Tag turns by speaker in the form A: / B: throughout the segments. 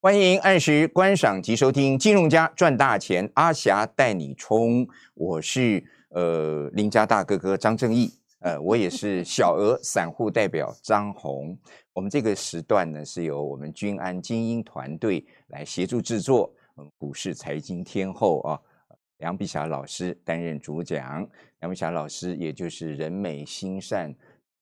A: 欢迎按时观赏及收听《金融家赚大钱》，阿霞带你冲。我是呃林家大哥哥张正义，呃，我也是小额散户代表张红。我们这个时段呢，是由我们君安精英团队来协助制作。我们股市财经天后啊，梁碧霞老师担任主讲。梁碧霞老师也就是人美心善、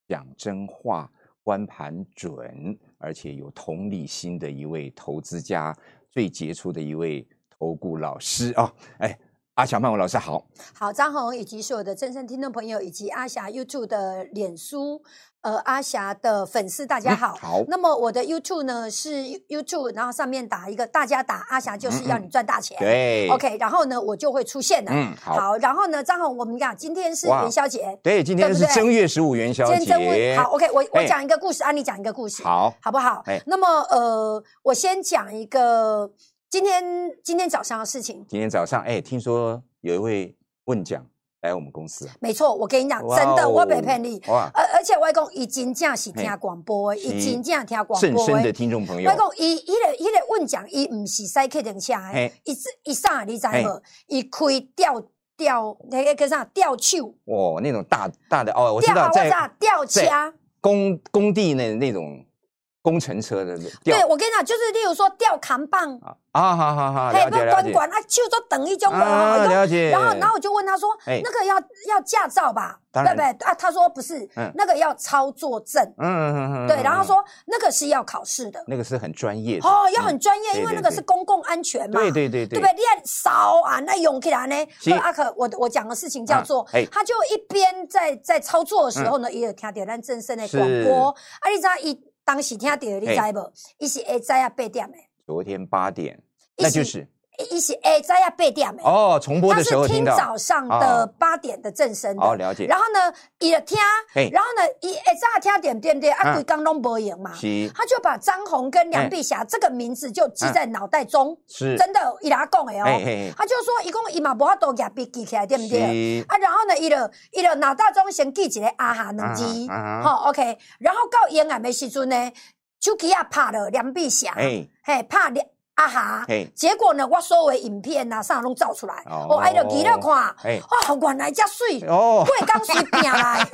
A: 讲真话、观盘准，而且有同理心的一位投资家，最杰出的一位投顾老师啊、哎，阿小曼舞老师好，
B: 好，张红以及所有的真正听众朋友，以及阿霞 YouTube 的脸书，呃，阿霞的粉丝，
A: 嗯
B: 大家好。
A: 好，
B: 那么我的 YouTube 呢是 YouTube，然后上面打一个大家打阿霞，就是要你赚大钱。
A: 嗯对
B: OK，然后呢，我就会出现的。
A: 嗯，好，
B: 然后呢，张红，我们讲今天是
A: 哇
B: 元宵节，
A: 对，今天
B: 对不
A: 是
B: 对
A: 正月十五元宵
B: 今天正
A: 节，
B: 好，OK，我我
A: 哎
B: 讲一个故事，安妮讲一个故事，
A: 好，
B: 好不好
A: 哎？
B: 那么呃，我先讲一个今天今天早上的事情。
A: 今天早上哎，听说有一位问奖来我们公 司啊，
B: 没错，我跟你讲，
A: 哇
B: 真的，我
A: 哦
B: 没骗你。
A: 哇，
B: 而而且我讲，伊真正是听广播的，
A: 嘿
B: 伊真正听广
A: 甚
B: 播
A: 深的
B: 的。
A: 听众朋
B: 我
A: 友，
B: 讲，伊迄个迄个问讲，伊毋是驶客停车的
A: 嘿，
B: 伊是伊啥你知
A: 嘿
B: 无？伊开吊吊迄个叫啥吊手，
A: 哇，那种大大的哦，我知
B: 吊
A: 道
B: 啊我知
A: 在
B: 道吊车。
A: 在工工地那那种工程车的吊
B: 对，我跟你讲，就是例如说吊扛棒，
A: 啊，啊好好好，
B: 嘿，
A: 了
B: 不
A: 解了
B: 管
A: 解。
B: 管啊，手都等一种哦无
A: 啊
B: 好用。
A: 了解。
B: 然后，然后我就问他说：“
A: 嘿
B: 那个要要驾照吧？
A: 当
B: 对
A: 然
B: 不对？”啊，他说不是
A: 嗯，
B: 那个要操作证。
A: 嗯嗯嗯嗯，
B: 对，然后
A: 嗯
B: 说那个是要考试的。
A: 那个是很专业的，
B: 哦，要很专
A: 嗯
B: 业，因为
A: 对
B: 那
A: 对
B: 个
A: 对
B: 是公共安全嘛，
A: 对对对
B: 对不对？你看烧啊，那涌起来呢
A: 是。
B: 阿可，我我讲的事情叫做
A: 啊哎，嗯
B: 他就一边在在操作的时候呢，也有听到咱正声的广播。啊，你知道伊当时听到，你知
A: 哎
B: 无？伊是下早啊八点的，
A: 昨天八点，
B: 一
A: 那就
B: 起
A: 是
B: 伊伊是下早啊八点的。
A: 哦，重播
B: 他
A: 的时候
B: 是
A: 听
B: 听
A: 到，
B: 早上
A: 啊
B: 的八点的正声
A: 哦，
B: 的。
A: 了解，
B: 然后呢，伊就听
A: 嘿，
B: 然后呢，伊下早听点对不对？
A: 嗯
B: 啊，规工拢无用嘛。
A: 是哎
B: 他就把张红跟梁碧霞这个名字就
A: 嗯
B: 记在脑袋中，
A: 是，哎
B: 真的，伊拉讲的
A: 嘿
B: 哦。
A: 嘿
B: 他就说，一共伊嘛无法度举笔记起来，对不对？
A: 嘿，
B: 啊，然后呢，伊就伊就脑袋中先记一个啊哈两字，
A: 啊哈啊哈
B: 好 OK。然后到延安的时阵呢，手机啊拍了梁碧霞，
A: 哎，
B: 嘿拍了啊哈
A: 嘿，
B: 结果呢，我所有的影片啊啥拢照出来，
A: 哦
B: 哦，哎，就记了看，
A: 哎
B: 哇，原来遮 水，
A: 哦。
B: 贵港水拼 来，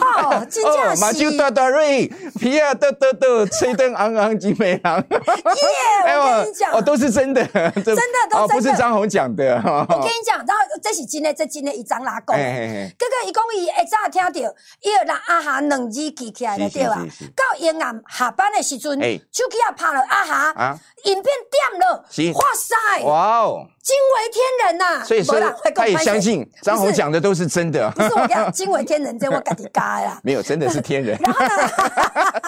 B: 哦，真正
A: 马就。
B: 是
A: 大大瑞，皮啊亚哒哒哒，吹灯昂昂吉美 郎。
B: 耶！我跟你讲，
A: 哦，都是真的， 真的
B: 都
A: 哦，不
B: 真
A: 是
B: 的
A: 张红讲的。哦
B: 我跟你讲，然后这是真的，这真的伊张拉讲。
A: 哎哎
B: 哥哥伊讲伊会早听到，伊有人阿哈两字记起来了，
A: 是
B: 对吧
A: 是是是？
B: 到夜晚下班的时阵
A: 哎，
B: 手机也拍了阿
A: 哎
B: 哈，
A: 啊，
B: 影片点了
A: 是，
B: 哇塞，
A: 哇哦！
B: 惊为天人呐！
A: 所以说
B: 啊没啦我跟
A: 他也
B: 你
A: 相信张红
B: 不是
A: 讲的都是真的，。
B: 不是我跟你讲，惊为天人，这我家己加的啦
A: 没有，真的是天 人，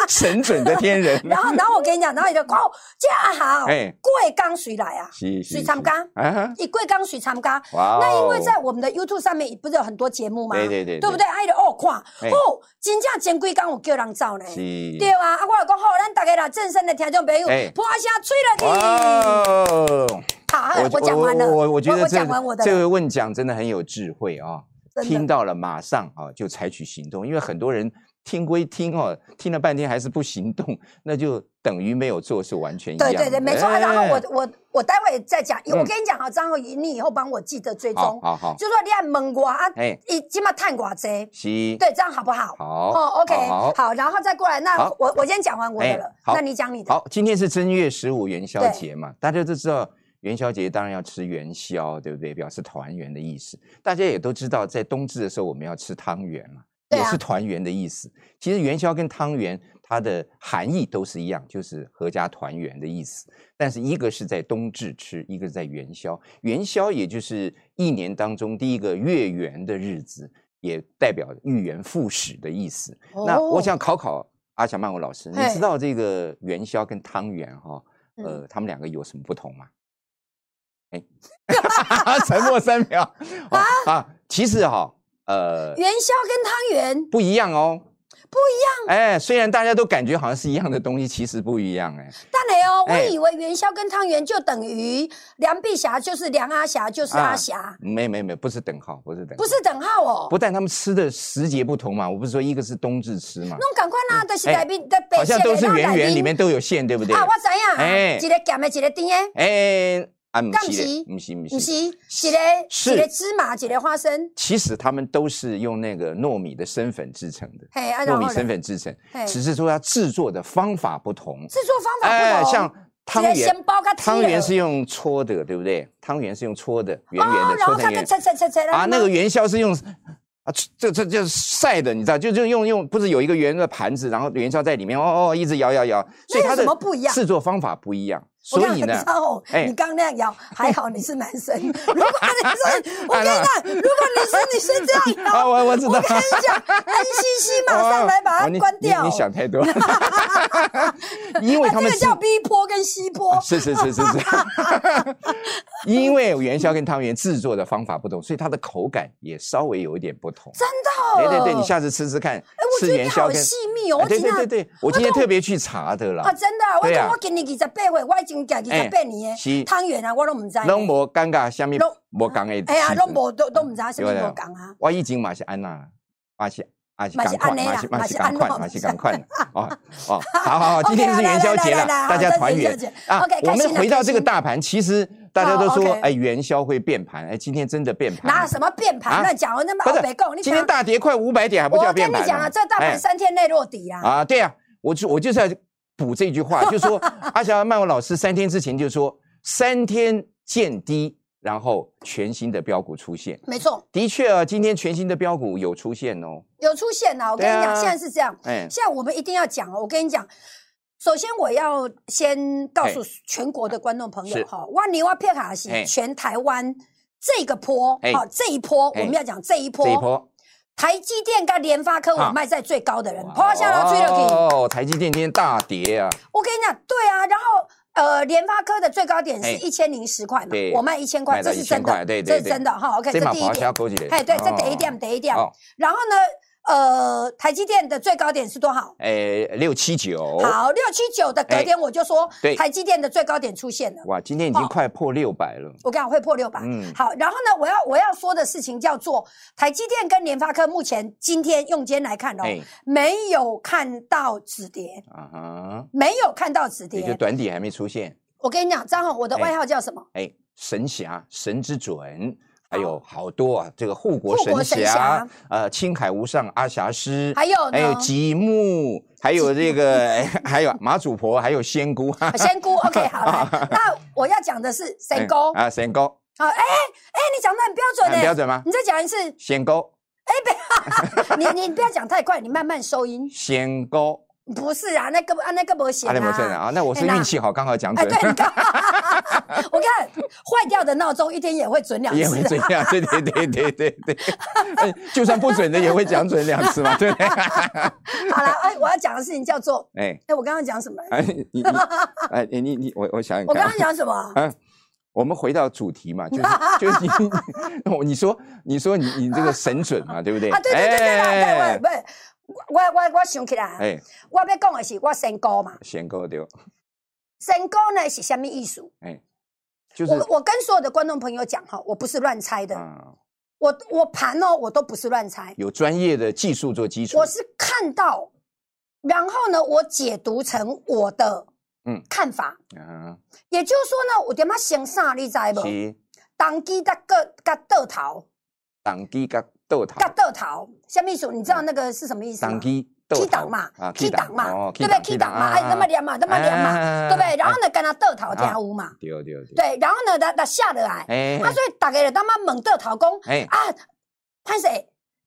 A: 神准的天人。
B: 然后，然后我跟你讲，然后伊就讲，哦这阿哈哦
A: 哎，
B: 过江谁来啊？
A: 是是
B: 谁参加？
A: 啊哈，
B: 伊贵港水参加。
A: 哇哦
B: 那因为在我们的 YouTube 上面不是有很多节目吗？
A: 对对对对
B: 对不对？啊，伊就哦
A: 嘿
B: 看，哦，真正前几工有叫人走呢。
A: 是
B: 对啊，啊，我就讲好，咱大家啦，正声的听众朋友
A: 嘿，
B: 破声吹了
A: 哎哇哦！
B: 去。好，好我讲完了，
A: 我我觉得
B: 我
A: 这
B: 讲完我的
A: 这
B: 了，
A: 位问讲真的很有智慧啊、
B: 真的
A: 听到了马上啊就采取行动，因为很多人听归听哦，听了半天还是不行动， 那就等于没有做是完全一样
B: 对
A: 的。
B: 对对，没错。啊然后
A: 哎
B: 我我我待会再讲，
A: 嗯
B: 我跟你讲好，张浩宇，你以后帮我记得追
A: 好
B: 踪，
A: 好好，
B: 就说你爱问我啊
A: 哎，
B: 伊今嘛探我这，
A: 西
B: 对，这样好不好？
A: 好
B: 哦，OK，
A: 好
B: 好，然后再过来，那
A: 好
B: 我我先讲完我
A: 哎
B: 的了，
A: 好
B: 那你讲你的。
A: 好，今天是正月十五元宵节嘛，大家都知道元宵节当然要吃元宵，对不对？表示团圆的意思。大家也都知道，在冬至的时候我们要吃汤圆嘛，
B: 对
A: 也
B: 啊
A: 是团圆的意思。其实元宵跟汤圆它的含义都是一样，就是合家团圆的意思。但是一个是在冬至吃，一个是在元宵。元宵也就是一年当中第一个月圆的日子，也代表预言复始的意思。那我
B: 哦
A: 想考考阿小曼舞老师，你
B: 嘿
A: 知道这个元宵跟汤圆哈，
B: 嗯
A: 呃，他们两个有什么不同吗？ 哎，沉默三秒啊哦啊其实哈，呃，
B: 元宵跟汤圆
A: 不一样哦。
B: 不一样。
A: 哎，虽然大家都感觉好像是一样的东西，其实不一样哎。
B: 但没哦，我
A: 哎
B: 以为元宵跟汤圆就等于梁碧霞就是梁阿霞就是
A: 啊
B: 阿霞，
A: 没没没，不是等号，不是等号，
B: 不是等号哦。
A: 不但他们吃的时节不同嘛，我不是说一个是冬至吃嘛，
B: 弄赶快啦，就是
A: 哎
B: 内面的北
A: 好像
B: 线
A: 都是
B: 的
A: 圆圆，里
B: 面
A: 面都有馅，对不对？
B: 啊，我知影，
A: 哎
B: 一个咸的，一个甜的，
A: 哎，啊，不
B: 杠
A: 是
B: 极
A: 嘞，不是不
B: 不是
A: 是，
B: 一个
A: 是
B: 一个芝麻，一个花生，
A: 其实他们都是用那个糯米的生粉制成的，
B: 嘿，啊，然
A: 糯
B: 后
A: 米
B: 呢
A: 生粉制成
B: 嘿，
A: 只是说它制作的方法不同。哎
B: 制作方法不同，
A: 像汤
B: 一个
A: 圆
B: 先包啊甲，
A: 汤圆是用搓的，对不对？汤圆是用搓的，圆圆
B: 哦
A: 的，
B: 然后
A: 搓
B: 它
A: 成
B: 就
A: 圆。
B: 切切切切
A: 啊，那个元宵是用啊，这这这晒的，你知道，就就用用，不是有一个圆的盘子，然后元宵在里面，哦哦，一直摇摇摇，所以
B: 那有
A: 它
B: 什
A: 的
B: 么不一样
A: 制作方法不一样，所
B: 我跟
A: 以
B: 你
A: 呢
B: 讲，，哦，
A: 哎
B: 你刚那样摇，还好你是男生。 如果你是，我跟你
A: 哎
B: 讲，如果你是女生这 样
A: 啊，
B: 摇，
A: 我我知
B: 我
A: 道
B: 跟，你 讲，安西西马上来把
A: 哦
B: 它
A: 你
B: 关掉。啊
A: 你你想太 多，因为他们
B: 这
A: 是啊
B: 个叫 B 坡跟 C 坡。
A: 是是是是 是，因为元宵跟汤圆制作的方法不同，所以它的口感也稍微有一点不同。
B: 真的
A: 对
B: 哦，
A: 对对，你下次吃吃看
B: 哎，，我
A: 吃
B: 觉得
A: 元
B: 你
A: 宵
B: 好
A: 跟
B: 细密哦，我
A: 哎对
B: 今
A: 对对
B: 天
A: 对，我今天特别去查的
B: 啊，
A: 啦，
B: 真的啊，我
A: 对啊
B: 讲我今年二十八岁，我已经行二十八年
A: 是
B: 的汤圆啊，我都唔知。
A: 拢无尴尬，下面
B: 拢
A: 无讲的。
B: 哎呀，拢。无都都唔知什么
A: 对啊
B: 无讲啊。
A: 我以前嘛是安娜，嘛是嘛是
B: 嘛是
A: 赶快，
B: 安尼啦
A: 嘛是嘛
B: 嘛
A: 是
B: 是
A: 赶
B: 安
A: 快，
B: 咯
A: 嘛是赶快。哦 哦，好好好，今天
B: OK，
A: 是元宵节
B: 来来
A: 了，
B: 来来
A: 大家
B: 好
A: 团圆
B: 这是元宵节
A: 啊
B: OK，。
A: 我
B: 开心
A: 们
B: 啊
A: 回到
B: 开
A: 这个
B: 心
A: 大盘，其实大家都说
B: 哦，，OK
A: 哎，元宵会变盘，哎，今天真的变盘。
B: 哪有什么变
A: 啊
B: 盘？乱讲，我那么
A: 不
B: 欧
A: 是
B: 北共，你
A: 今天
B: 讲
A: 大跌快五百点还不叫
B: 我
A: 变
B: 跟
A: 盘
B: 你
A: 呢？
B: 讲啊，这大
A: 哎
B: 盘三天内落底啦。
A: 啊，对啊，我就我就是要补这句话，就 说阿霞曼文老师三天之前就说三天见低，然后全新的标股出现。
B: 没错，
A: 的确啊，今天全新的标股有出现哦。
B: 有出现啦。我跟你
A: 对
B: 讲，
A: 啊
B: 现在是这样，
A: 哎，
B: 现在我们一定要讲哦。我跟你讲，首先我要先告诉全国的观众朋
A: 是
B: 友哈，万尼哇片卡
A: 哎
B: 西全台湾这个波，
A: 哎
B: 好这一波，
A: 哎
B: 我们要讲这一
A: 这一
B: 波，
A: 波
B: 台积电跟联发科
A: 啊
B: 我卖在最高的人，抛下了追了去。
A: 哦，台积电今天大跌啊，
B: 我跟你讲，对啊，然后。呃，联发科的最高点是
A: 哎
B: 一千零十块嘛
A: 对，
B: 我卖一千块，
A: 卖到
B: 这是
A: 1000
B: 真
A: 块
B: 的，
A: 对对
B: 这是
A: 对
B: 真的哈。OK，这
A: 把
B: 第一
A: 华
B: 点
A: 夏，勾起来。
B: 哎，对，这
A: 哦
B: 得一点，得一点。
A: 哦，
B: 然后呢，呃，台积电的最高点是多少？
A: 哎，六七九。
B: 好，六七九的隔天我就说
A: 哎对，
B: 台积电的最高点出现了。
A: 哇，今天已经
B: 哦
A: 快破六百了。
B: 我跟你讲会破六百，
A: 嗯
B: 好，然后呢，我要我要说的事情叫做台积电跟联发科目前今天用间来看哦，
A: 哎，
B: 没有看到止跌，
A: 啊哈，
B: 没有看到止
A: 也就
B: 跌。
A: 短底还没出现。
B: 我跟你讲，张宏，我的
A: 哎
B: 外号叫什么？
A: 哎，神侠、神之准，还有好多啊，这个护国
B: 哦护国
A: 神
B: 神
A: 侠
B: 侠，
A: 呃，青海无上阿侠师，
B: 还有
A: 哎还有
B: 呢，
A: 极木，还有这个，哎还有马祖婆，还有仙姑，哈哈
B: 仙姑。OK，好，来，那我要讲的是神沟。
A: 哎啊，仙姑，
B: 好，哎哎，你讲的很标准
A: 很
B: 呢，
A: 标准吗？
B: 你再讲一次，
A: 仙姑，
B: 你你不要讲太快，你慢慢收音。
A: 仙姑，
B: 不是啊，那个啊那个不行
A: 阿
B: 啊。
A: 里摩圣啊，那我是
B: 哎那
A: 运气好，刚好讲
B: 哎，
A: 准，
B: 对，你看，我看坏掉的闹钟一天也会准两
A: 也会
B: 次。
A: 这样，对对对对对对，哎就算不准的也会讲准两次嘛，对不对？
B: 好了，哎，我要讲的事情叫做，
A: 哎
B: 哎，我刚刚讲什么？
A: 哎，你 你哎你你你我我想想
B: 我
A: 看
B: 刚
A: 啊
B: 刚。讲什么？
A: 啊，我们回到主题嘛，就是就是你， 我你说你说你你这个神准嘛，对不对？
B: 啊，对对对对啦，
A: 哎
B: 对，我我我我我想起来，啊
A: 哎，
B: 我要讲的是我身高嘛，
A: 先够丢，
B: 身高呢是什么意思？
A: 哎，就是
B: 我我跟所有的观众朋友讲哈，我不是乱猜的，
A: 啊，
B: 我我盘哦，我都不是乱猜，
A: 有专业的技术做基础
B: 我，是看到，然后呢，我解读成我的
A: 嗯
B: 看法。
A: 啊，
B: 也就是说呢，有点仔先啥，你知无？
A: 是
B: 当机甲个甲倒头，
A: 党基跟豆糖
B: 甲，倒头，什么意思？你知道那个是什么意思吗
A: 党？基豆
B: 起档嘛
A: 啊，，
B: 起档嘛，对不对？起档嘛，哎，
A: 哎，
B: 那么连嘛，那么连嘛，
A: 嘛
B: 对不对？然后呢，跟他倒头听有嘛，
A: 啊 丢丢丢，
B: 对，然后呢，他他下得来，
A: 啊哎
B: 啊，所以大家就他妈猛倒头讲
A: 哎，
B: 啊，潘势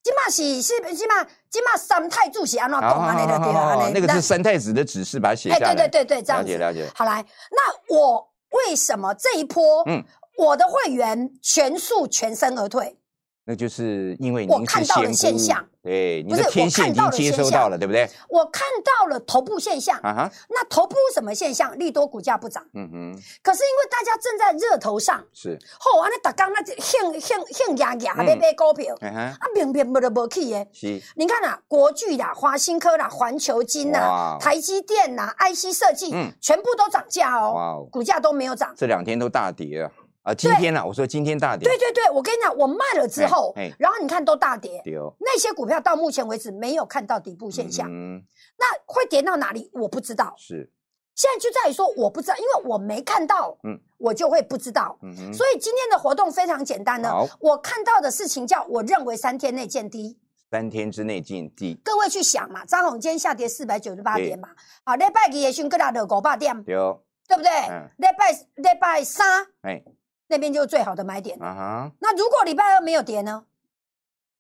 B: 即嘛是是即嘛即嘛三太子是安怎讲
A: 哦
B: 安尼就对了，安尼
A: 那个是三太子的指示，把它写
B: 哎，
A: 下来，
B: 对对对对，这
A: 了
B: 样
A: 解
B: 子。
A: 了解，
B: 好来，那我为什么这一波，
A: 嗯
B: 我的会员全数全身而退？
A: 那就是因为
B: 我
A: 您
B: 看
A: 是
B: 到了
A: 仙
B: 现
A: 姑
B: 象，
A: 对，你
B: 不
A: 的
B: 是
A: 天
B: 我
A: 线
B: 看
A: 已
B: 到
A: 经
B: 了
A: 接
B: 现
A: 收
B: 象
A: 到了，对不对？
B: 我看到了头部现象，
A: 啊哈，
B: 那头部什么现象？利多股价不涨，
A: 嗯哼，
B: 可是因为大家正在热头上，
A: 是，
B: 吼，安尼逐工那就兴兴兴牙牙
A: 嗯
B: 要买股票，
A: 嗯哼，
B: 啊，明明无就无去的。
A: 是，
B: 你看啊，国巨啦、华新科啦、环球金
A: 哇哦、
B: 啦台积电啦、IC 设计，
A: 嗯
B: 全部都涨价
A: 哇
B: 哦
A: 哦，
B: 股价都没有涨。
A: 这两天都大跌啊，啊，今天呢，我说今天大跌，
B: 对对对，我跟你讲，我卖了之后
A: 哎哎，
B: 然后你看都大跌，
A: 对哦，
B: 那些股票到目前为止没有看到底部现象，
A: 嗯，
B: 那会跌到哪里我不知道。
A: 是，
B: 现在就在于说我不知道，因为我没看到，
A: 嗯
B: 我就会不知道。
A: 嗯哼，
B: 所以今天的活动非常简单呢
A: 好，
B: 我看到的事情叫我认为三天内见低。
A: 三天之内进地，
B: 各位去想嘛，张宏今天下跌四百九十八
A: 对
B: 点嘛，啊，礼拜二的时候跟他的五百点，
A: 对哦，
B: 对不对
A: 嗯？
B: 礼拜礼拜三
A: 哎，
B: 那边就是最好的买点。
A: 啊哈，
B: 那如果礼拜二没有跌呢？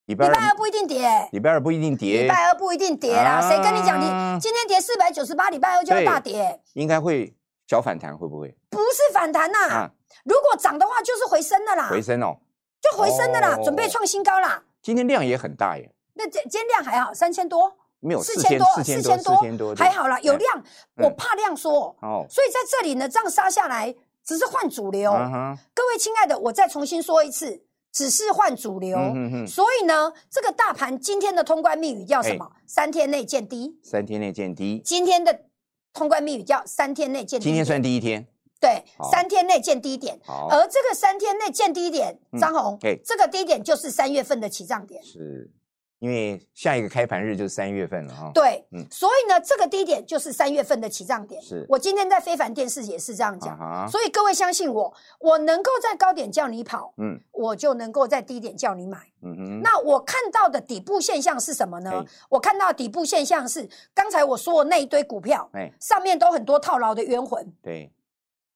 A: 礼拜
B: 礼拜
A: 二
B: 二，不一定跌，
A: 礼拜二不一定跌
B: 礼，拜二不一定跌啦。
A: 啊
B: 谁跟你讲你今天跌四百九十八，礼拜二就要
A: 对
B: 大跌？
A: 应该会小反弹，会不会
B: 不是反弹呐、
A: 啊？
B: 如果涨的话就是回升的啦，
A: 回升哦，
B: 就回升的啦，
A: 哦
B: 准备创新高啦。
A: 今天量也很大耶，
B: 那今今天量还好，三千多，
A: 没有
B: 四千多，
A: 四千
B: 四
A: 多，
B: 千
A: 四千多，
B: 多，还好啦，有
A: 哎
B: 量，
A: 嗯
B: 我怕量缩，
A: 哦，
B: 所以在这里呢，这样杀下来只是换主流。
A: 啊哈，
B: 各位亲爱的，我再重新说一次，只是换主流。
A: 嗯哼哼
B: 所以呢，这个大盘今天的通关密语叫什么？三天内见低。
A: 三天内见低，
B: 今天的通关密语叫三天呃内见低。
A: 今天算第一天，
B: 对
A: 好，
B: 三天内见低点。
A: 好，嗯
B: 而这个三天内见低点，张红
A: 嘿，
B: 这个低点就是三月份的起涨点。
A: 是因为下一个开盘日就是三月份了哈。，
B: 对
A: 嗯，
B: 所以呢，这个低点就是三月份的起涨点。
A: 是
B: 我今天在非凡电视也是这样
A: 啊
B: 讲。
A: 哈，
B: 所以各位相信我，我能够在高点叫你跑，
A: 嗯
B: 我就能够在低点叫你买。
A: 嗯哼，
B: 那我看到的底部现象是什么呢
A: 嘿？
B: 我看到的底部现象是刚才我说的那一堆股票，
A: 哎
B: 上面都很多套牢的冤魂，
A: 对，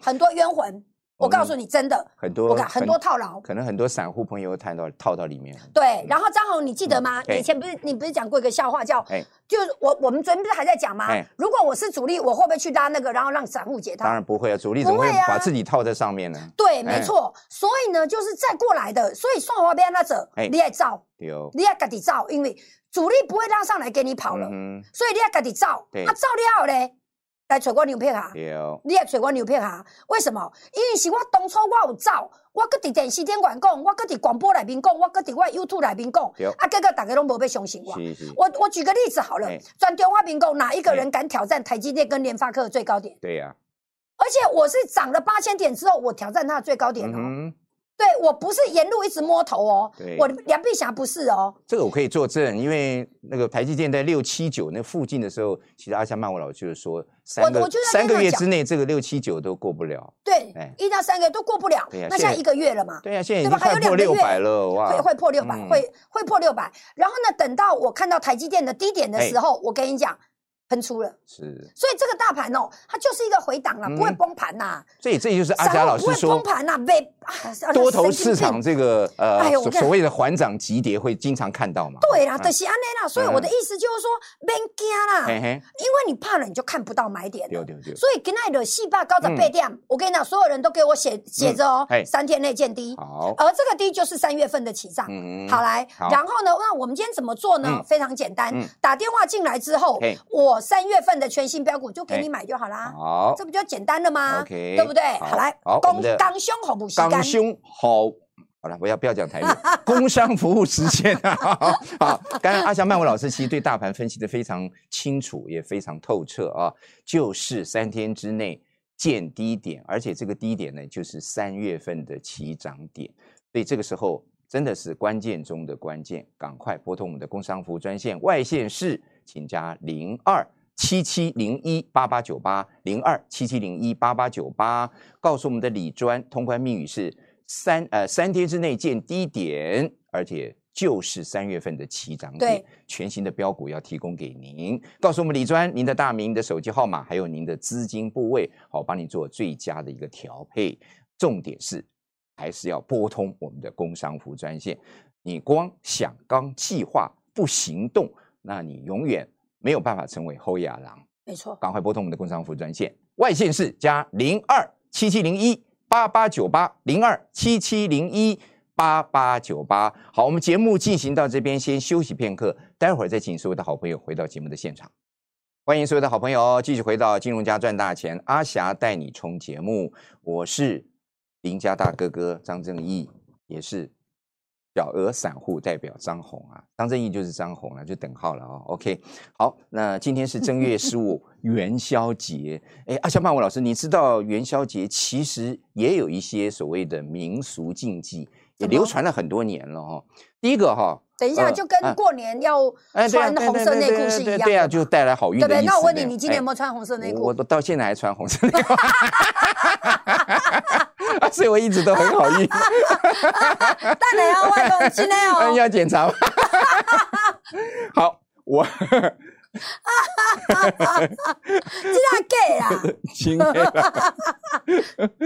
B: 很多冤魂。
A: 我
B: 我
A: 们
B: 告诉你，真的，
A: 很
B: 我
A: 多
B: 看很多套牢。
A: 可能很多散户朋友谈到套到里面了。
B: 对，然后张红，你记得吗？
A: 嗯
B: 以前不是你不是讲过一个笑话叫
A: 哎，
B: 就是我我们昨天不是还在讲吗
A: 哎？
B: 如果我是主力，我会不会去拉那个，然后让散户解
A: 当
B: 套？
A: 然不会啊，主力怎么会
B: 不会啊
A: 把自己套在上面呢？
B: 对，
A: 哎
B: 没错。所以呢，就是再过来的，所以算华边那者
A: 哎，
B: 你也造，
A: 对哦，
B: 你也自己造，因为主力不会拉上来给你跑了。
A: 嗯哼，
B: 所以你要家己走，
A: 对
B: 啊走了咧，来找我牛片啊，
A: 对哦，
B: 你来找我牛片啊？为什么？因为是我当初我有走，我搁伫电视顶管讲，我搁伫广播内面讲，我搁伫我的 YouTube 内面讲
A: 对，
B: 啊，结果大家拢无要相信我。
A: 是是，
B: 我我举个例子好了
A: 哎，
B: 全中华民国哪一个人
A: 哎
B: 敢挑战台积电跟联发科的最高点？
A: 对啊呀，
B: 而且我是涨了八千点之后，我挑战它的最高点
A: 嗯
B: 哦。
A: 哼，
B: 对我不是沿路一直摸头哦
A: 对，
B: 我梁碧霞不是哦，
A: 这个我可以作证，因为那个台积电在六七九那附近的时候，其实阿香曼我老师就说，三
B: 我
A: 个
B: 就在
A: 三
B: 跟
A: 个
B: 他
A: 月
B: 讲
A: 之内，这个六七九都过不了。
B: 对
A: 哎，
B: 一到三个月都过不了
A: 对呀，
B: 那
A: 现
B: 现
A: 在
B: 在一个月了嘛，
A: 对啊呀，现在已
B: 对
A: 经
B: 吧还
A: 快
B: 有
A: 破
B: 两
A: 六
B: 个月
A: 百了哇！
B: 会会破六百、
A: 嗯
B: 会会破六百。然后呢，等到我看到台积电的低点的
A: 哎
B: 时候，我跟你讲，喷出了。
A: 是，
B: 所以这个大盘哦，它就是一个回档啦，
A: 嗯
B: 不会崩盘呐，
A: 所以这就是阿
B: 散户
A: 佳老师
B: 不会
A: 说
B: 崩，盘呐，被啊
A: 多头市场。这个呃
B: 哎呦我
A: 所
B: 跟
A: 所谓的缓涨急跌会经常看到嘛？
B: 对啦，
A: 嗯
B: 就是安内啦，所以我的意思就是说，别惊啦，
A: 嘿
B: 因
A: 嘿，
B: 为你怕了，你就看不到买点
A: 对
B: 了。
A: 对对，
B: 所以今天的戏霸高的背点，我跟你讲，所有人都给我写写着
A: 嗯
B: 哦
A: 嘿，
B: 三天内见低，
A: 好，
B: 而这个低就是三月份的起涨。
A: 嗯
B: 哦好，来，
A: 好
B: 然后呢？那我们今天怎么做呢？
A: 嗯
B: 非常简单，
A: 嗯
B: 打电话进来之后
A: 嘿，
B: 我三月份的全新标股就给
A: 嘿
B: 你买就好啦，
A: 好
B: 这，不就简单了吗
A: OK，
B: 对不对？
A: 好
B: 好来，
A: 好我们
B: 公
A: 的
B: 刚胸好不吸
A: 刚
B: 干，
A: 兄好。好了，不要不要讲 台语，工商服务时间啊！好，刚刚阿翔曼舞老师其实对大盘分析的非常清楚，也非常透彻啊，就是三天之内见低点，而且这个低点呢，就是三月份的起涨点，所以这个时候真的是关键中的关键，赶快拨通我们的工商服务专线，外线是请加零二。七七零一八八九八零二七七零一八八九八，告诉我们的李专通关密语是三呃三天之内见低点，而且就是三月份的起涨点
B: 对，
A: 全新的标股要提供给您。告诉我们李专您的大名、您的手机号码，还有您的资金部位，好帮你做最佳的一个调配。重点是还是要拨通我们的工商服专线。你光想刚计划不行动，那你永远没有办法成为侯亚郎。
B: 没错。
A: 赶快拨通我们的工商服专线，外线是加零二七七零一八八九八零二七七零一八八九八。好，我们节目进行到这边，先休息片刻，待会儿再请所有的好朋友回到节目的现场。欢迎所有的好朋友哦继续回到《金融家赚大钱》，阿霞带你冲节目，我是林家大哥哥张正义，也是小额散户代表张红啊，张正义就是张红了、就等号了哦。OK，好，那今天是正月十五元宵节，哎，阿霞曼文老师，你知道元宵节其实也有一些所谓的民俗禁忌，也流传了很多年了哈、哦。第一个哈、
B: 等一下，
A: 呃
B: 就跟
A: 啊
B: 过年要
A: 哎，对啊
B: 穿红色内裤是一样的嘛，
A: 对啊，就带来好运
B: 对
A: 的
B: 不
A: 意思。
B: 对？那我问你，
A: 没有
B: 你今年有
A: 哎
B: 没有穿红色内
A: 我我
B: 裤？
A: 都到现在还穿红色内裤， 啊所以我一直都很好运。
B: 但你啊，外 公，今天
A: 嗯
B: 哦，
A: 要检 查吗？好，我
B: 今天假
A: 哎
B: 啦，
A: 今天了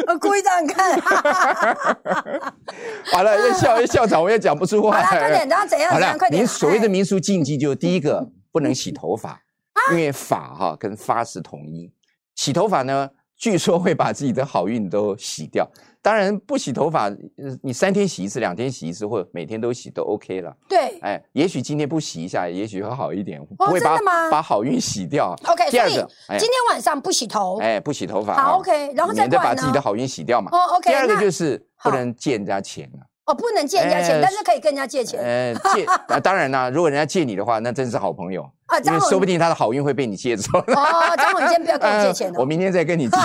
B: 我故意这样 看。
A: 完了，要笑要笑场，我也讲不出话
B: 好啦，
A: 来。
B: 快点，然后怎样
A: 哎好
B: 怎
A: 了
B: 样，快，点。
A: 您所谓的
B: 哎
A: 民俗禁忌，就第一 个不能洗头发，
B: 啊
A: 因为发哈跟发是同音，洗头发呢，据说会把自己的好运都洗掉。当然不洗头发，呃你三天洗一次，两天洗一次，或者每天都洗都 OK 了。
B: 对
A: 哎，也许今天不洗一下，也许会好一点，不
B: 哦
A: 会把
B: 真的吗
A: 把好运洗掉。
B: ，OK，
A: 第
B: 所
A: 二
B: 以
A: 个，哎
B: 今天晚上不洗头。
A: 哎，不洗头发啊，
B: 好，OK，然后再
A: 免得
B: 不
A: 把自
B: 然
A: 己的
B: 呢？
A: 好运洗掉嘛。
B: 哦，OK，
A: 第二个
B: 那
A: 就是不
B: 好
A: 能借人家钱啊。
B: 哦，不能借人家
A: 哎
B: 钱，但是可以跟人家借钱
A: 呃，借 啊，当然啦，如果人家借你的话，那真是好朋友，
B: 啊。
A: 因
B: 张
A: 为说不
B: 红，
A: 定他的好运会被你借走。
B: 哦，张红，你先不要跟我借钱
A: 呃我
B: 哦。
A: 明天再跟 你借。好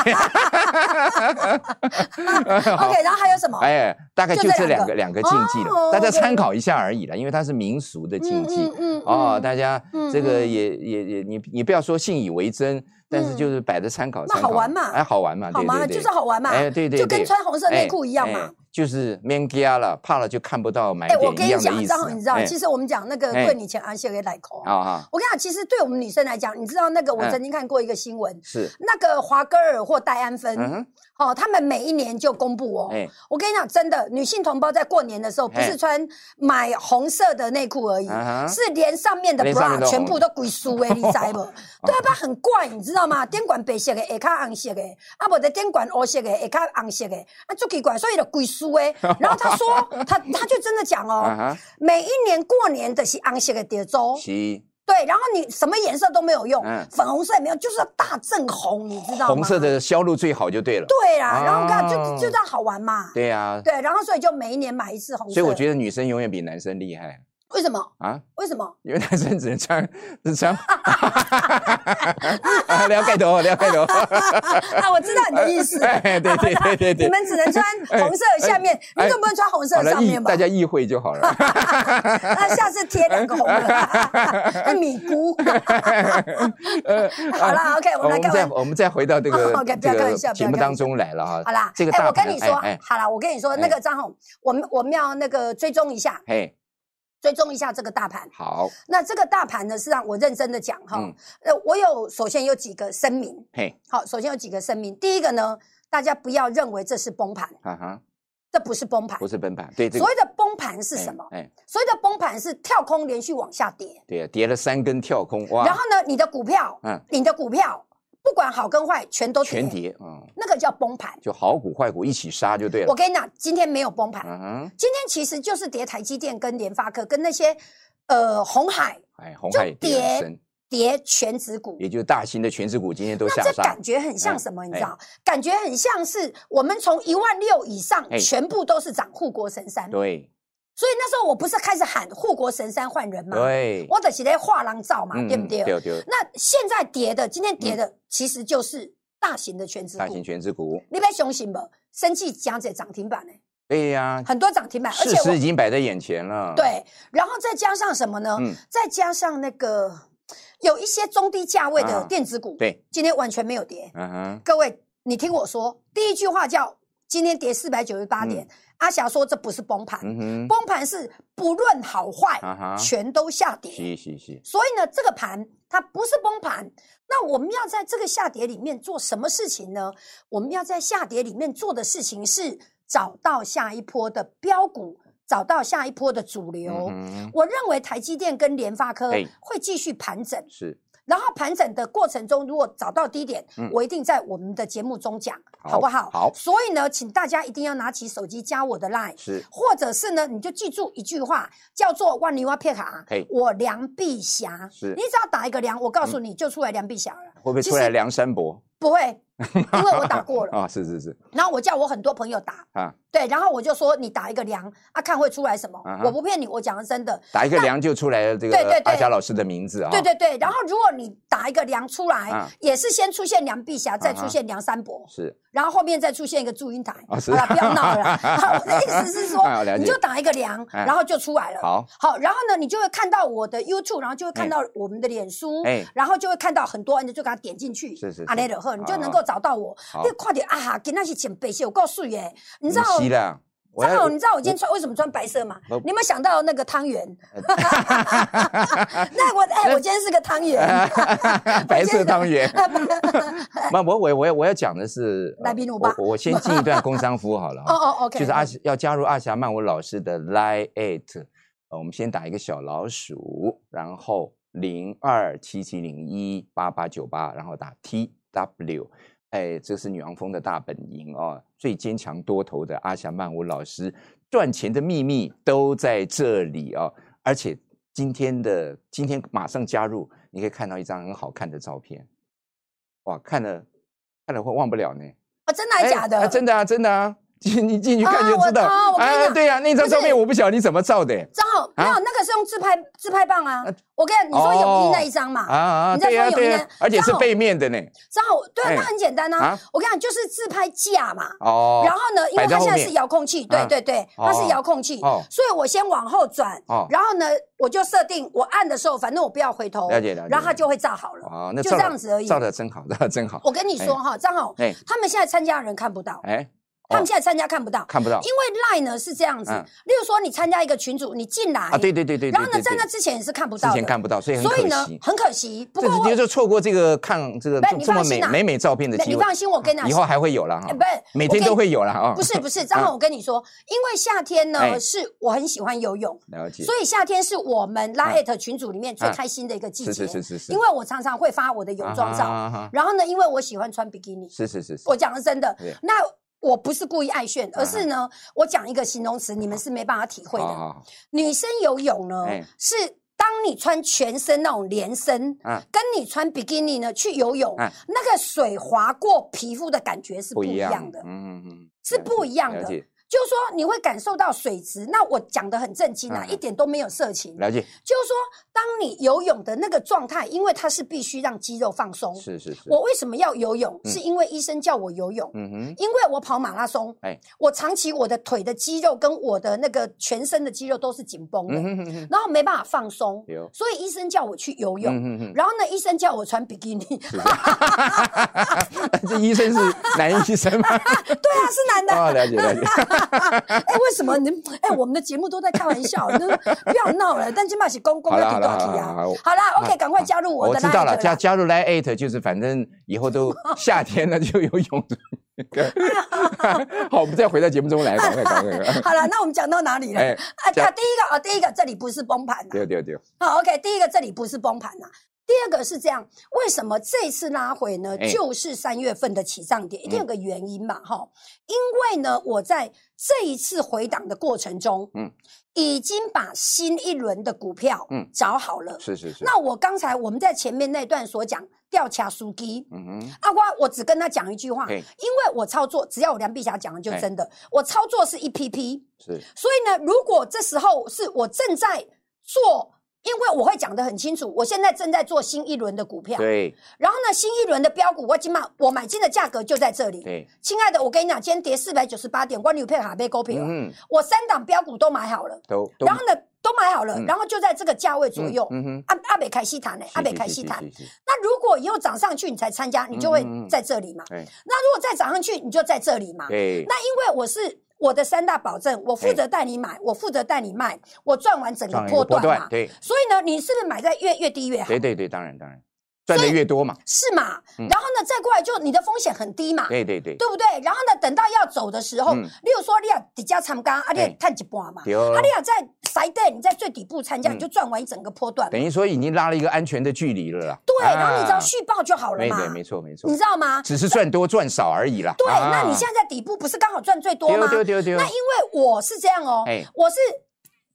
B: OK，然后还有什么？
A: 哎，大概
B: 就
A: 就
B: 这
A: 这两个
B: 两个
A: 两个禁忌了，
B: 哦
A: 大家
B: OK
A: 参考一下而已了，因为它是民俗的禁忌
B: 嗯
A: 哦，大家
B: 嗯
A: 这个
B: 嗯
A: 也也也你你不要说信以为真，但是就是摆着参考
B: 那
A: 参考，
B: 好玩嘛
A: 哎，好玩嘛，
B: 好
A: 对
B: 嘛，
A: 对对，
B: 就是好玩嘛，
A: 哎，对对，
B: 就跟
A: 对
B: 穿红色内裤一样
A: 哎
B: 嘛
A: 哎。就是免加了，怕了就看不到买
B: 哎，我
A: 点一
B: 跟你
A: 样的
B: 讲，
A: 意思。
B: 张红，你知道，
A: 哎
B: 其实我们讲那个
A: 哎
B: 过年前安息给奶口。
A: 啊啊
B: 我跟你讲，其实对我们女生来讲，你知道那个，我
A: 嗯
B: 曾经看过一个新闻，
A: 是，
B: 那个华歌尔或戴安芬，
A: 嗯哼，
B: 哦，他们每一年就公布哦。
A: 哎
B: 我跟你讲，真的，女性同胞在过年的时候，不
A: 哎
B: 是穿买红色的内裤而已，
A: 啊哈
B: 是连上面的
A: 连上面
B: bra
A: 都红
B: 全部都鬼输哎，你知不？对啊，很怪，你知道吗？电管白色的，下卡红色的，啊，不的电管黑色的，下卡红色的，啊，足奇怪，所以就鬼输哎。然后他说，他他就真的 讲
A: 啊
B: 哦，
A: 哈，
B: 每一年过年的是红色的碟粥，
A: 是
B: 对，然后你什么颜色都没有用
A: 嗯，
B: 粉红色也没有，就是要大正红，你知道吗？
A: 红色的销路最好就对了。
B: 对啦，然后看就
A: 哦
B: 就这样好玩嘛。
A: 对啊，
B: 对，然后所以就每一年买一次红色。
A: 所以我觉得女生永远比男生厉害
B: 为什么？
A: 啊，
B: 为什么？
A: 因为男生只能穿 只穿， 啊，撩盖头，撩 盖头，
B: 啊，我知道你的意思。
A: 哎， 对对对对
B: 你
A: 对。
B: 们只能穿红色的下面，
A: 哎
B: 你总不能穿红色
A: 好
B: 的
A: 了，
B: 上
A: 意
B: 面吧
A: 大？家意会就好了。
B: 那下次贴两个红的，米糊。好 啦 o k
A: 呃啊我
B: 我们来
A: 们
B: 看
A: 再
B: 完。
A: 我们再回到这 个
B: OK，不
A: 这
B: 要开
A: 个
B: 玩笑
A: 节
B: 不
A: 目
B: 要开
A: 当
B: 玩
A: 中来了啊哈。
B: 好啦，
A: 这个
B: 哎，
A: 大
B: 我
A: 盘
B: 跟你
A: 哎
B: 说
A: 哎，
B: 好啦，我跟你说，那个张红，我们我们要那个追踪一下，
A: 嘿，
B: 追踪一下这个大盘。
A: 好，
B: 那这个大盘呢，是让我认真的讲哈
A: 嗯，
B: 呃，我有首先有几个声明，
A: 嘿，
B: 好，首先有几个声明。第一个呢，大家不要认为这是崩盘，
A: 啊哈，
B: 这不是崩盘
A: 不。是崩盘，对这个
B: 所谓的崩盘是什么？
A: 哎，哎
B: 所谓的崩盘是跳空连续往下跌，
A: 对啊，跌了三根跳空，
B: 然
A: 哇，
B: 后呢，你的股票，
A: 嗯
B: 你的股票不管好跟坏，全都
A: 全，跌，嗯，
B: 那个叫崩盘。
A: 就好股坏股一起杀就对
B: 我
A: 了。
B: 跟你讲，今天没有崩盘，
A: 嗯哼，
B: 今天其实就是跌台积电跟联发科跟那些呃红海
A: 哎，红海也跌很深，
B: 跌全指股，
A: 也就是大型的全指股今天都下
B: 那这
A: 杀
B: 感，觉很像什么？
A: 嗯
B: 你知道？感觉很像是我们从一万六以上
A: 哎，
B: 全部都是涨护国神山。
A: 对
B: 所以那时候我不是开始喊护国神山换人吗？
A: 对，
B: 我的是在画廊照嘛，
A: 嗯
B: 对不对？
A: 对对，
B: 那现在跌的，今天跌的其实就是大型的全指
A: 大
B: 股
A: 型。全指股，
B: 你别相信吧，生气讲者涨停板呢、
A: 对呀，
B: 很多涨停板，而
A: 事
B: 且
A: 实已
B: 我
A: 经摆在眼前了。，
B: 对，然后再加上什么呢？
A: 嗯
B: 再加上那个有一些中低价位
A: 啊
B: 的电子股，
A: 对，
B: 今天完全没有跌。
A: 嗯哼，
B: 各位，你听我说，第一句话叫“今天跌四百九十八点”，阿霞说这不是崩盘，
A: 嗯哼，
B: 崩盘是不论好坏、
A: 啊哈
B: 全都下跌。
A: 是是是，
B: 所以呢，这个盘它不是崩盘。那我们要在这个下跌里面做什么事情呢？我们要在下跌里面做的事情是找到下一波的标股，找到下一波的主流。
A: 嗯哼
B: 我认为台积电跟联发科
A: 哎
B: 会继续盘整，
A: 是，
B: 然后盘整的过程中，如果找到低点，
A: 嗯
B: 我一定在我们的节目中讲，
A: 好
B: 不好？
A: 好
B: 所以呢，请大家一定要拿起手机加我的 line，
A: 是
B: 或者是呢，你就记住一句话，叫做“万里蛙撇卡
A: 嘿”，
B: 我梁碧霞。
A: 是嗯
B: 你只要打一个梁，我告诉你，就出来梁碧霞了。
A: 会不会
B: 其
A: 出来
B: 实
A: 梁山伯
B: 不会，因为我 打过了。
A: 啊？是是是
B: 然后我叫我很多朋友打，
A: 啊，
B: 对，然后我就说你打一个梁啊，看会出来什么
A: 啊。哈
B: 我不骗你，我讲的真的。
A: 打一个梁就出来了这
B: 对对
A: 个
B: 对
A: 阿霞老师的名字啊。
B: 对对对，然后如果你打一个梁出来
A: 啊，
B: 也是先出现梁碧霞，再
A: 啊哈
B: 出现梁山伯，
A: 是
B: 然后后面再出现一个祝英台。
A: 啊是
B: 好了，不要闹 了啦。好我的意思是说
A: 啊了，解
B: 你就打一个梁，
A: 哎
B: 然后就出来了。
A: 好，
B: 好，然后呢，你就会看到我的 YouTube，然后就会看到我们的脸书，
A: 哎
B: 然后就会看到很多人就给他点进去，啊
A: 是是是
B: 阿内的赫，你就
A: 好
B: 能够找到我。
A: 好
B: 你快点啊哈，给那些捡白鞋，我告诉你耶，你知道。
A: 你吸了，我
B: 张
A: 要
B: 总，你知道我今天穿为什么穿白色吗
A: 我？
B: 你有没有想到那个汤圆？那我哎，我今天是个汤圆，
A: 白色汤圆。 那我我我要我要讲的是，呃
B: 来宾欧巴
A: 我我我先进一段工商服好了啊。
B: 哦哦，OK，
A: 就是阿霞要加入阿霞曼舞老师的 Line at，呃，我们先打一个小老鼠，然后零二七七零一八八九八，然后打 T W，哎，这是女王峰的大本营哦，最坚强多头的阿霞曼舞老师，赚钱的秘密都在这里哦，而且今天的今天马上加入，你可以看到一张很好看的照片，哇，看了看了会忘不了呢。
B: 哦，真的还
A: 哎
B: 是假
A: 啊
B: 的？
A: 真的啊，真的啊，进你进去看就知道。
B: 啊我啊我跟你讲
A: 对呀、那张
B: 不是
A: 照片我不晓得你怎么照的、
B: 张总，没有那个是用自拍自拍棒啊。我跟你说，泳衣那一张嘛，
A: 啊啊，
B: 你在
A: 对呀、
B: 说有
A: 对
B: 一
A: 呀、
B: 个
A: 而且是
B: 张
A: 背面的呢。
B: 张总，对啊，
A: 哎
B: 那很简单啊
A: 啊。
B: 我跟你讲，就是自拍架嘛。
A: 哦，
B: 然后呢，因为
A: 摆在
B: 它
A: 后
B: 现在
A: 面
B: 是遥控器，
A: 啊
B: 对对对，它
A: 哦
B: 是遥控器
A: 哦，
B: 所以我先往后转
A: 哦，
B: 然后呢，我就设定我按的时候，反正我不要回头，
A: 了解了解
B: 然后它就会炸好了，
A: 哦，那
B: 就
A: 照
B: 这
A: 得
B: 样子而已。哦
A: 照的真好，照的真好。
B: 我跟你说哈，张好
A: 哎，
B: 他们现在参加的人看不到，
A: 哎，
B: 他们现在参加看不到，
A: 看不到
B: 因为 Line 呢是这样子，
A: 嗯
B: 例如说你参加一个群组，你进来
A: 啊，对对对对对
B: 然后呢，
A: 对
B: 在
A: 对
B: 那之前也是看不
A: 之
B: 到
A: 前
B: 的，
A: 看不到，所以很
B: 所以
A: 可
B: 呢
A: 惜，。
B: 很可惜。不
A: 这
B: 过
A: 直
B: 我
A: 接就错过这个看这个
B: 不是你
A: 这么
B: 放心
A: 美
B: 啊
A: 美美照片的
B: 你
A: 机会，啊
B: 放心，我跟你讲，
A: 以后还会有了哈
B: 哎，不是
A: 每
B: 我
A: 天
B: 跟
A: 都会有了啊。
B: 不是不是，张
A: 啊
B: 浩，我跟你说，因为夏天呢
A: 哎
B: 是我很喜欢游泳。
A: 了解，
B: 所以夏天是我们拉 at 群组里面最开心的一个季节，
A: 哎是是是是是
B: 因为我常常会发我的泳装照，
A: 啊哈啊哈
B: 然后呢，因为我喜欢穿比基尼，
A: 是是是是，
B: 我讲的真的
A: 对。啊
B: 那我不是故意爱炫，而是呢，我讲一个形容词，你们是没办法体会
A: 好
B: 的。
A: 好好
B: 女生游泳呢
A: 啊哎，
B: 是当你穿全身那种连身，
A: 啊，
B: 跟你穿比基尼呢去游泳，
A: 哎
B: 那个水划过皮肤的感觉是不一样的。
A: 嗯嗯嗯，
B: 是
A: 了
B: 不
A: 解
B: 一样的
A: 了解
B: 就是说，你会感受到水质。那我讲的很正经啊，
A: 嗯
B: 一点都没有色情。
A: 了解，
B: 就是说，当你游泳的那个状态，因为它是必须让肌肉放松。
A: 是是是，
B: 我为什么要游泳？
A: 嗯
B: 是因为医生叫我游泳，
A: 嗯哼，
B: 因为我跑马拉松，
A: 哎，
B: 我长期我的腿的肌肉跟我的那个全身的肌肉都是紧绷的，
A: 嗯哼哼哼，
B: 然后没办法放松
A: 有，
B: 所以医生叫我去游泳。
A: 嗯哼哼
B: 然后呢，医生叫我穿比基尼， 对
A: 这医生是 男医生吗？
B: 啊，是男的。
A: 哦，了解了解，
B: 哎，为什么你？ 哎，我们的节目都在开玩笑，那 不要闹了。但起码是公公要听到题啊。好啦 o k 赶快加入我
A: 我
B: 的
A: 知道
B: line
A: 了，
B: 啦
A: 加加入来 at 就是反正以后 都夏天了就有泳的。 好，我们再回到节目中来，赶快赶快，赶快
B: 好了，那我们讲到哪里了？
A: 哎
B: 啊，
A: 讲
B: 啊，第一个啊，第一个这里不是崩盘
A: 对
B: 呐、
A: 对对，
B: 好，OK，第一个这里不是崩盘呐、第二个是这样，为什么这次拉回呢？
A: 哎嗯
B: 就是三月份的起涨点，一定有个原因嘛，哈、因为呢，我在这一次回档的过程中，
A: 嗯
B: 嗯，已经把新一轮的股票，
A: 嗯
B: 嗯，找好了。
A: 是是是，
B: 那我刚才我们在前面那段所讲调查书机，
A: 嗯哼，
B: 阿瓜，我只跟他讲一句话，
A: 嘿
B: 因为我操作，只要我梁碧霞讲的就
A: 嘿
B: 真的，我操作是一 PP，
A: 是
B: 所以呢，如果这时候是我正在做，因为我会讲得很清楚，我现在正在做新一轮的股票，
A: 对
B: 然后呢，新一轮的标股，我今买我买进的价格就在这里。
A: 对，
B: 亲爱的，我跟你讲，今天跌四百九十八点，关你配卡被勾平，
A: 嗯哼，
B: 我三档标股都买好了，
A: 都都
B: 然后呢都买好了，
A: 嗯
B: 然后就在这个价位左右。
A: 嗯哼，
B: 阿阿北开西谈呢？阿北
A: 是
B: 开西，谈
A: 是，是是是
B: 那如果以后涨上去你才参加，你就会
A: 嗯嗯嗯
B: 在这里嘛。
A: 哎，
B: 那如果再涨上去，你就在这里嘛。
A: 对，
B: 啊那因为我是我的三大保证，我负责带你买，我负责带你卖，我赚完整个
A: 上一
B: 波
A: 个波
B: 段嘛。
A: 段，对
B: 所以呢，你是不是买在越越低越好？
A: 对对对，当然当然，赚的越多嘛。
B: 是嘛？然后呢，再过来就你的风险很低嘛，
A: 嗯对对对，
B: 对不对？然后呢，等到要走的时候，
A: 嗯
B: 例如说你要底价参加，啊，你
A: 嘿
B: 也探一半嘛，
A: 对哦
B: 啊，你要在塞队，你在最底部参加，
A: 嗯
B: 你就赚完一整个波段嘛。
A: 等于说已经拉了一个安全的距离了啦。
B: 对，然后你只要
A: 啊
B: 续报就好了
A: 没
B: 嘛，
A: 对，没错没错
B: 你，知道吗？
A: 只是赚多赚少而已啦。
B: 对，
A: 啊哦
B: 那你现在在底部不是刚好赚最多吗？
A: 丢丢丢
B: 那
A: 丢
B: 因，为我是这样哦
A: 嘿，
B: 我是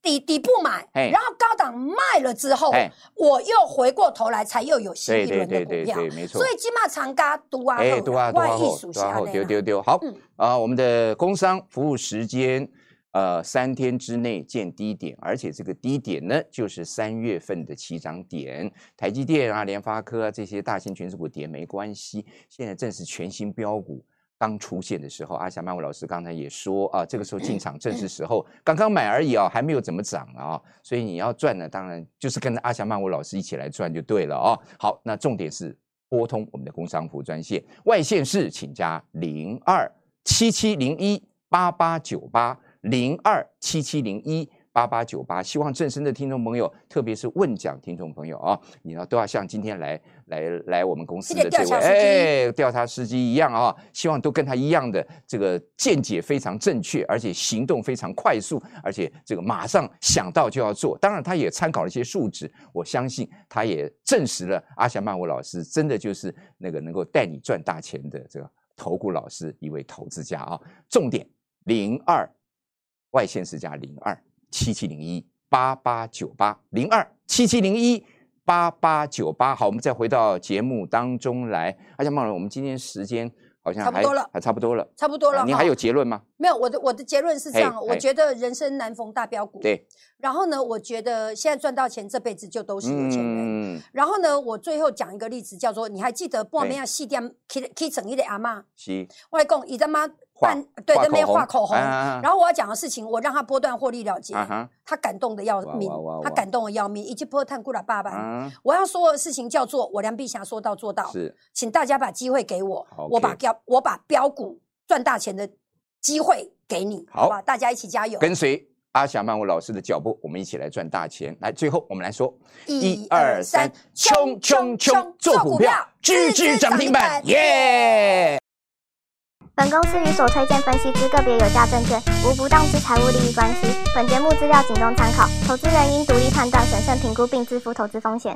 B: 底底部买，
A: 嘿
B: 然后高档卖了之后
A: 嘿，
B: 我又回过头来才又有新
A: 对
B: 一
A: 对
B: 轮的
A: 对
B: 股
A: 对
B: 票
A: 对，，没错
B: 所。以金马长嘎独啊，
A: 哎，多啊多
B: 外
A: 啊
B: 溢
A: 后，
B: 属
A: 多啊
B: 下
A: 后，丢
B: 呢，
A: 丢丢，好
B: 嗯
A: 啊！我们的工商服务时间，呃，三天之内见低点，而且这个低点呢，就是三月份的起涨点。台积电啊、联发科啊这些大型全指股跌没关系，现在正是全新标股。刚出现的时候，阿霞曼舞老师刚才也说啊，这个时候
B: 嗯
A: 进场正是时候，刚刚买而已啊，还没有怎么涨啊，所以你要赚呢，当然就是跟着阿霞曼舞老师一起来赚就对了啊。好，那重点是拨通我们的工商服务专线，外线是请加零二七七零一八八九八零二七七零一。八八九八，希望正声的听众朋友，特别是问讲听众朋友啊，你要都要像今天来来来我们公司
B: 这个
A: 的这
B: 调
A: 位
B: 查司机
A: 哎调查司机一样啊，希望都跟他一样的这个见解非常正确，而且行动非常快速，而且这个马上想到就要做。当然，他也参考了一些数值，我相信他也证实了阿霞曼舞老师真的就是那个能够带你赚大钱的这个投顾老师，一位投资家啊。重点零二外线是加零二七七零一八八九八零二七七零一八八九八。好，我们再回到节目当中来。哎阿霞曼舞老师，我们今天时间好像
B: 差不
A: 还
B: 多了
A: 还差不多了。
B: 差不多了
A: 啊
B: 哈。
A: 您还有结论吗？
B: 没有？我的我的结论是这样哦，
A: 嘿
B: 我
A: 嘿
B: 觉得人生难逢大标股，
A: 对，
B: 然后呢，我觉得现在赚到钱，这辈子就都是有钱人。
A: 嗯，
B: 然后呢，我最后讲一个例子，叫做你还记得半
A: 对
B: 夜要细店去去整一个阿嬷，
A: 是
B: 我来讲，伊在妈
A: 画
B: 办对在那边画口红，
A: 啊
B: 然后我要讲的事情，我让他波段获利了结，
A: 啊哈
B: 他感动的要
A: 哇
B: 命
A: 哇哇，
B: 他
A: 哇
B: 感动的要命，一及波探过了爸爸。
A: 啊，
B: 我要说的事情叫做我梁碧霞说到做到，
A: 是
B: 请大家把机会给我，
A: 好
B: 我把
A: OK
B: 标我把标股赚大钱的机会给你，
A: 好
B: 好吧？大家一起加油！
A: 跟随阿霞曼舞老师的脚步，我们一起来赚大钱。来，最后我们来说，一二三，冲冲冲，做股票，支支涨停板，耶！
C: 本公司与所推荐分析之个别有价证券无不当之财务利益关系。本节目资料仅供参考，投资人应独立判断、审慎评估并自负投资风险。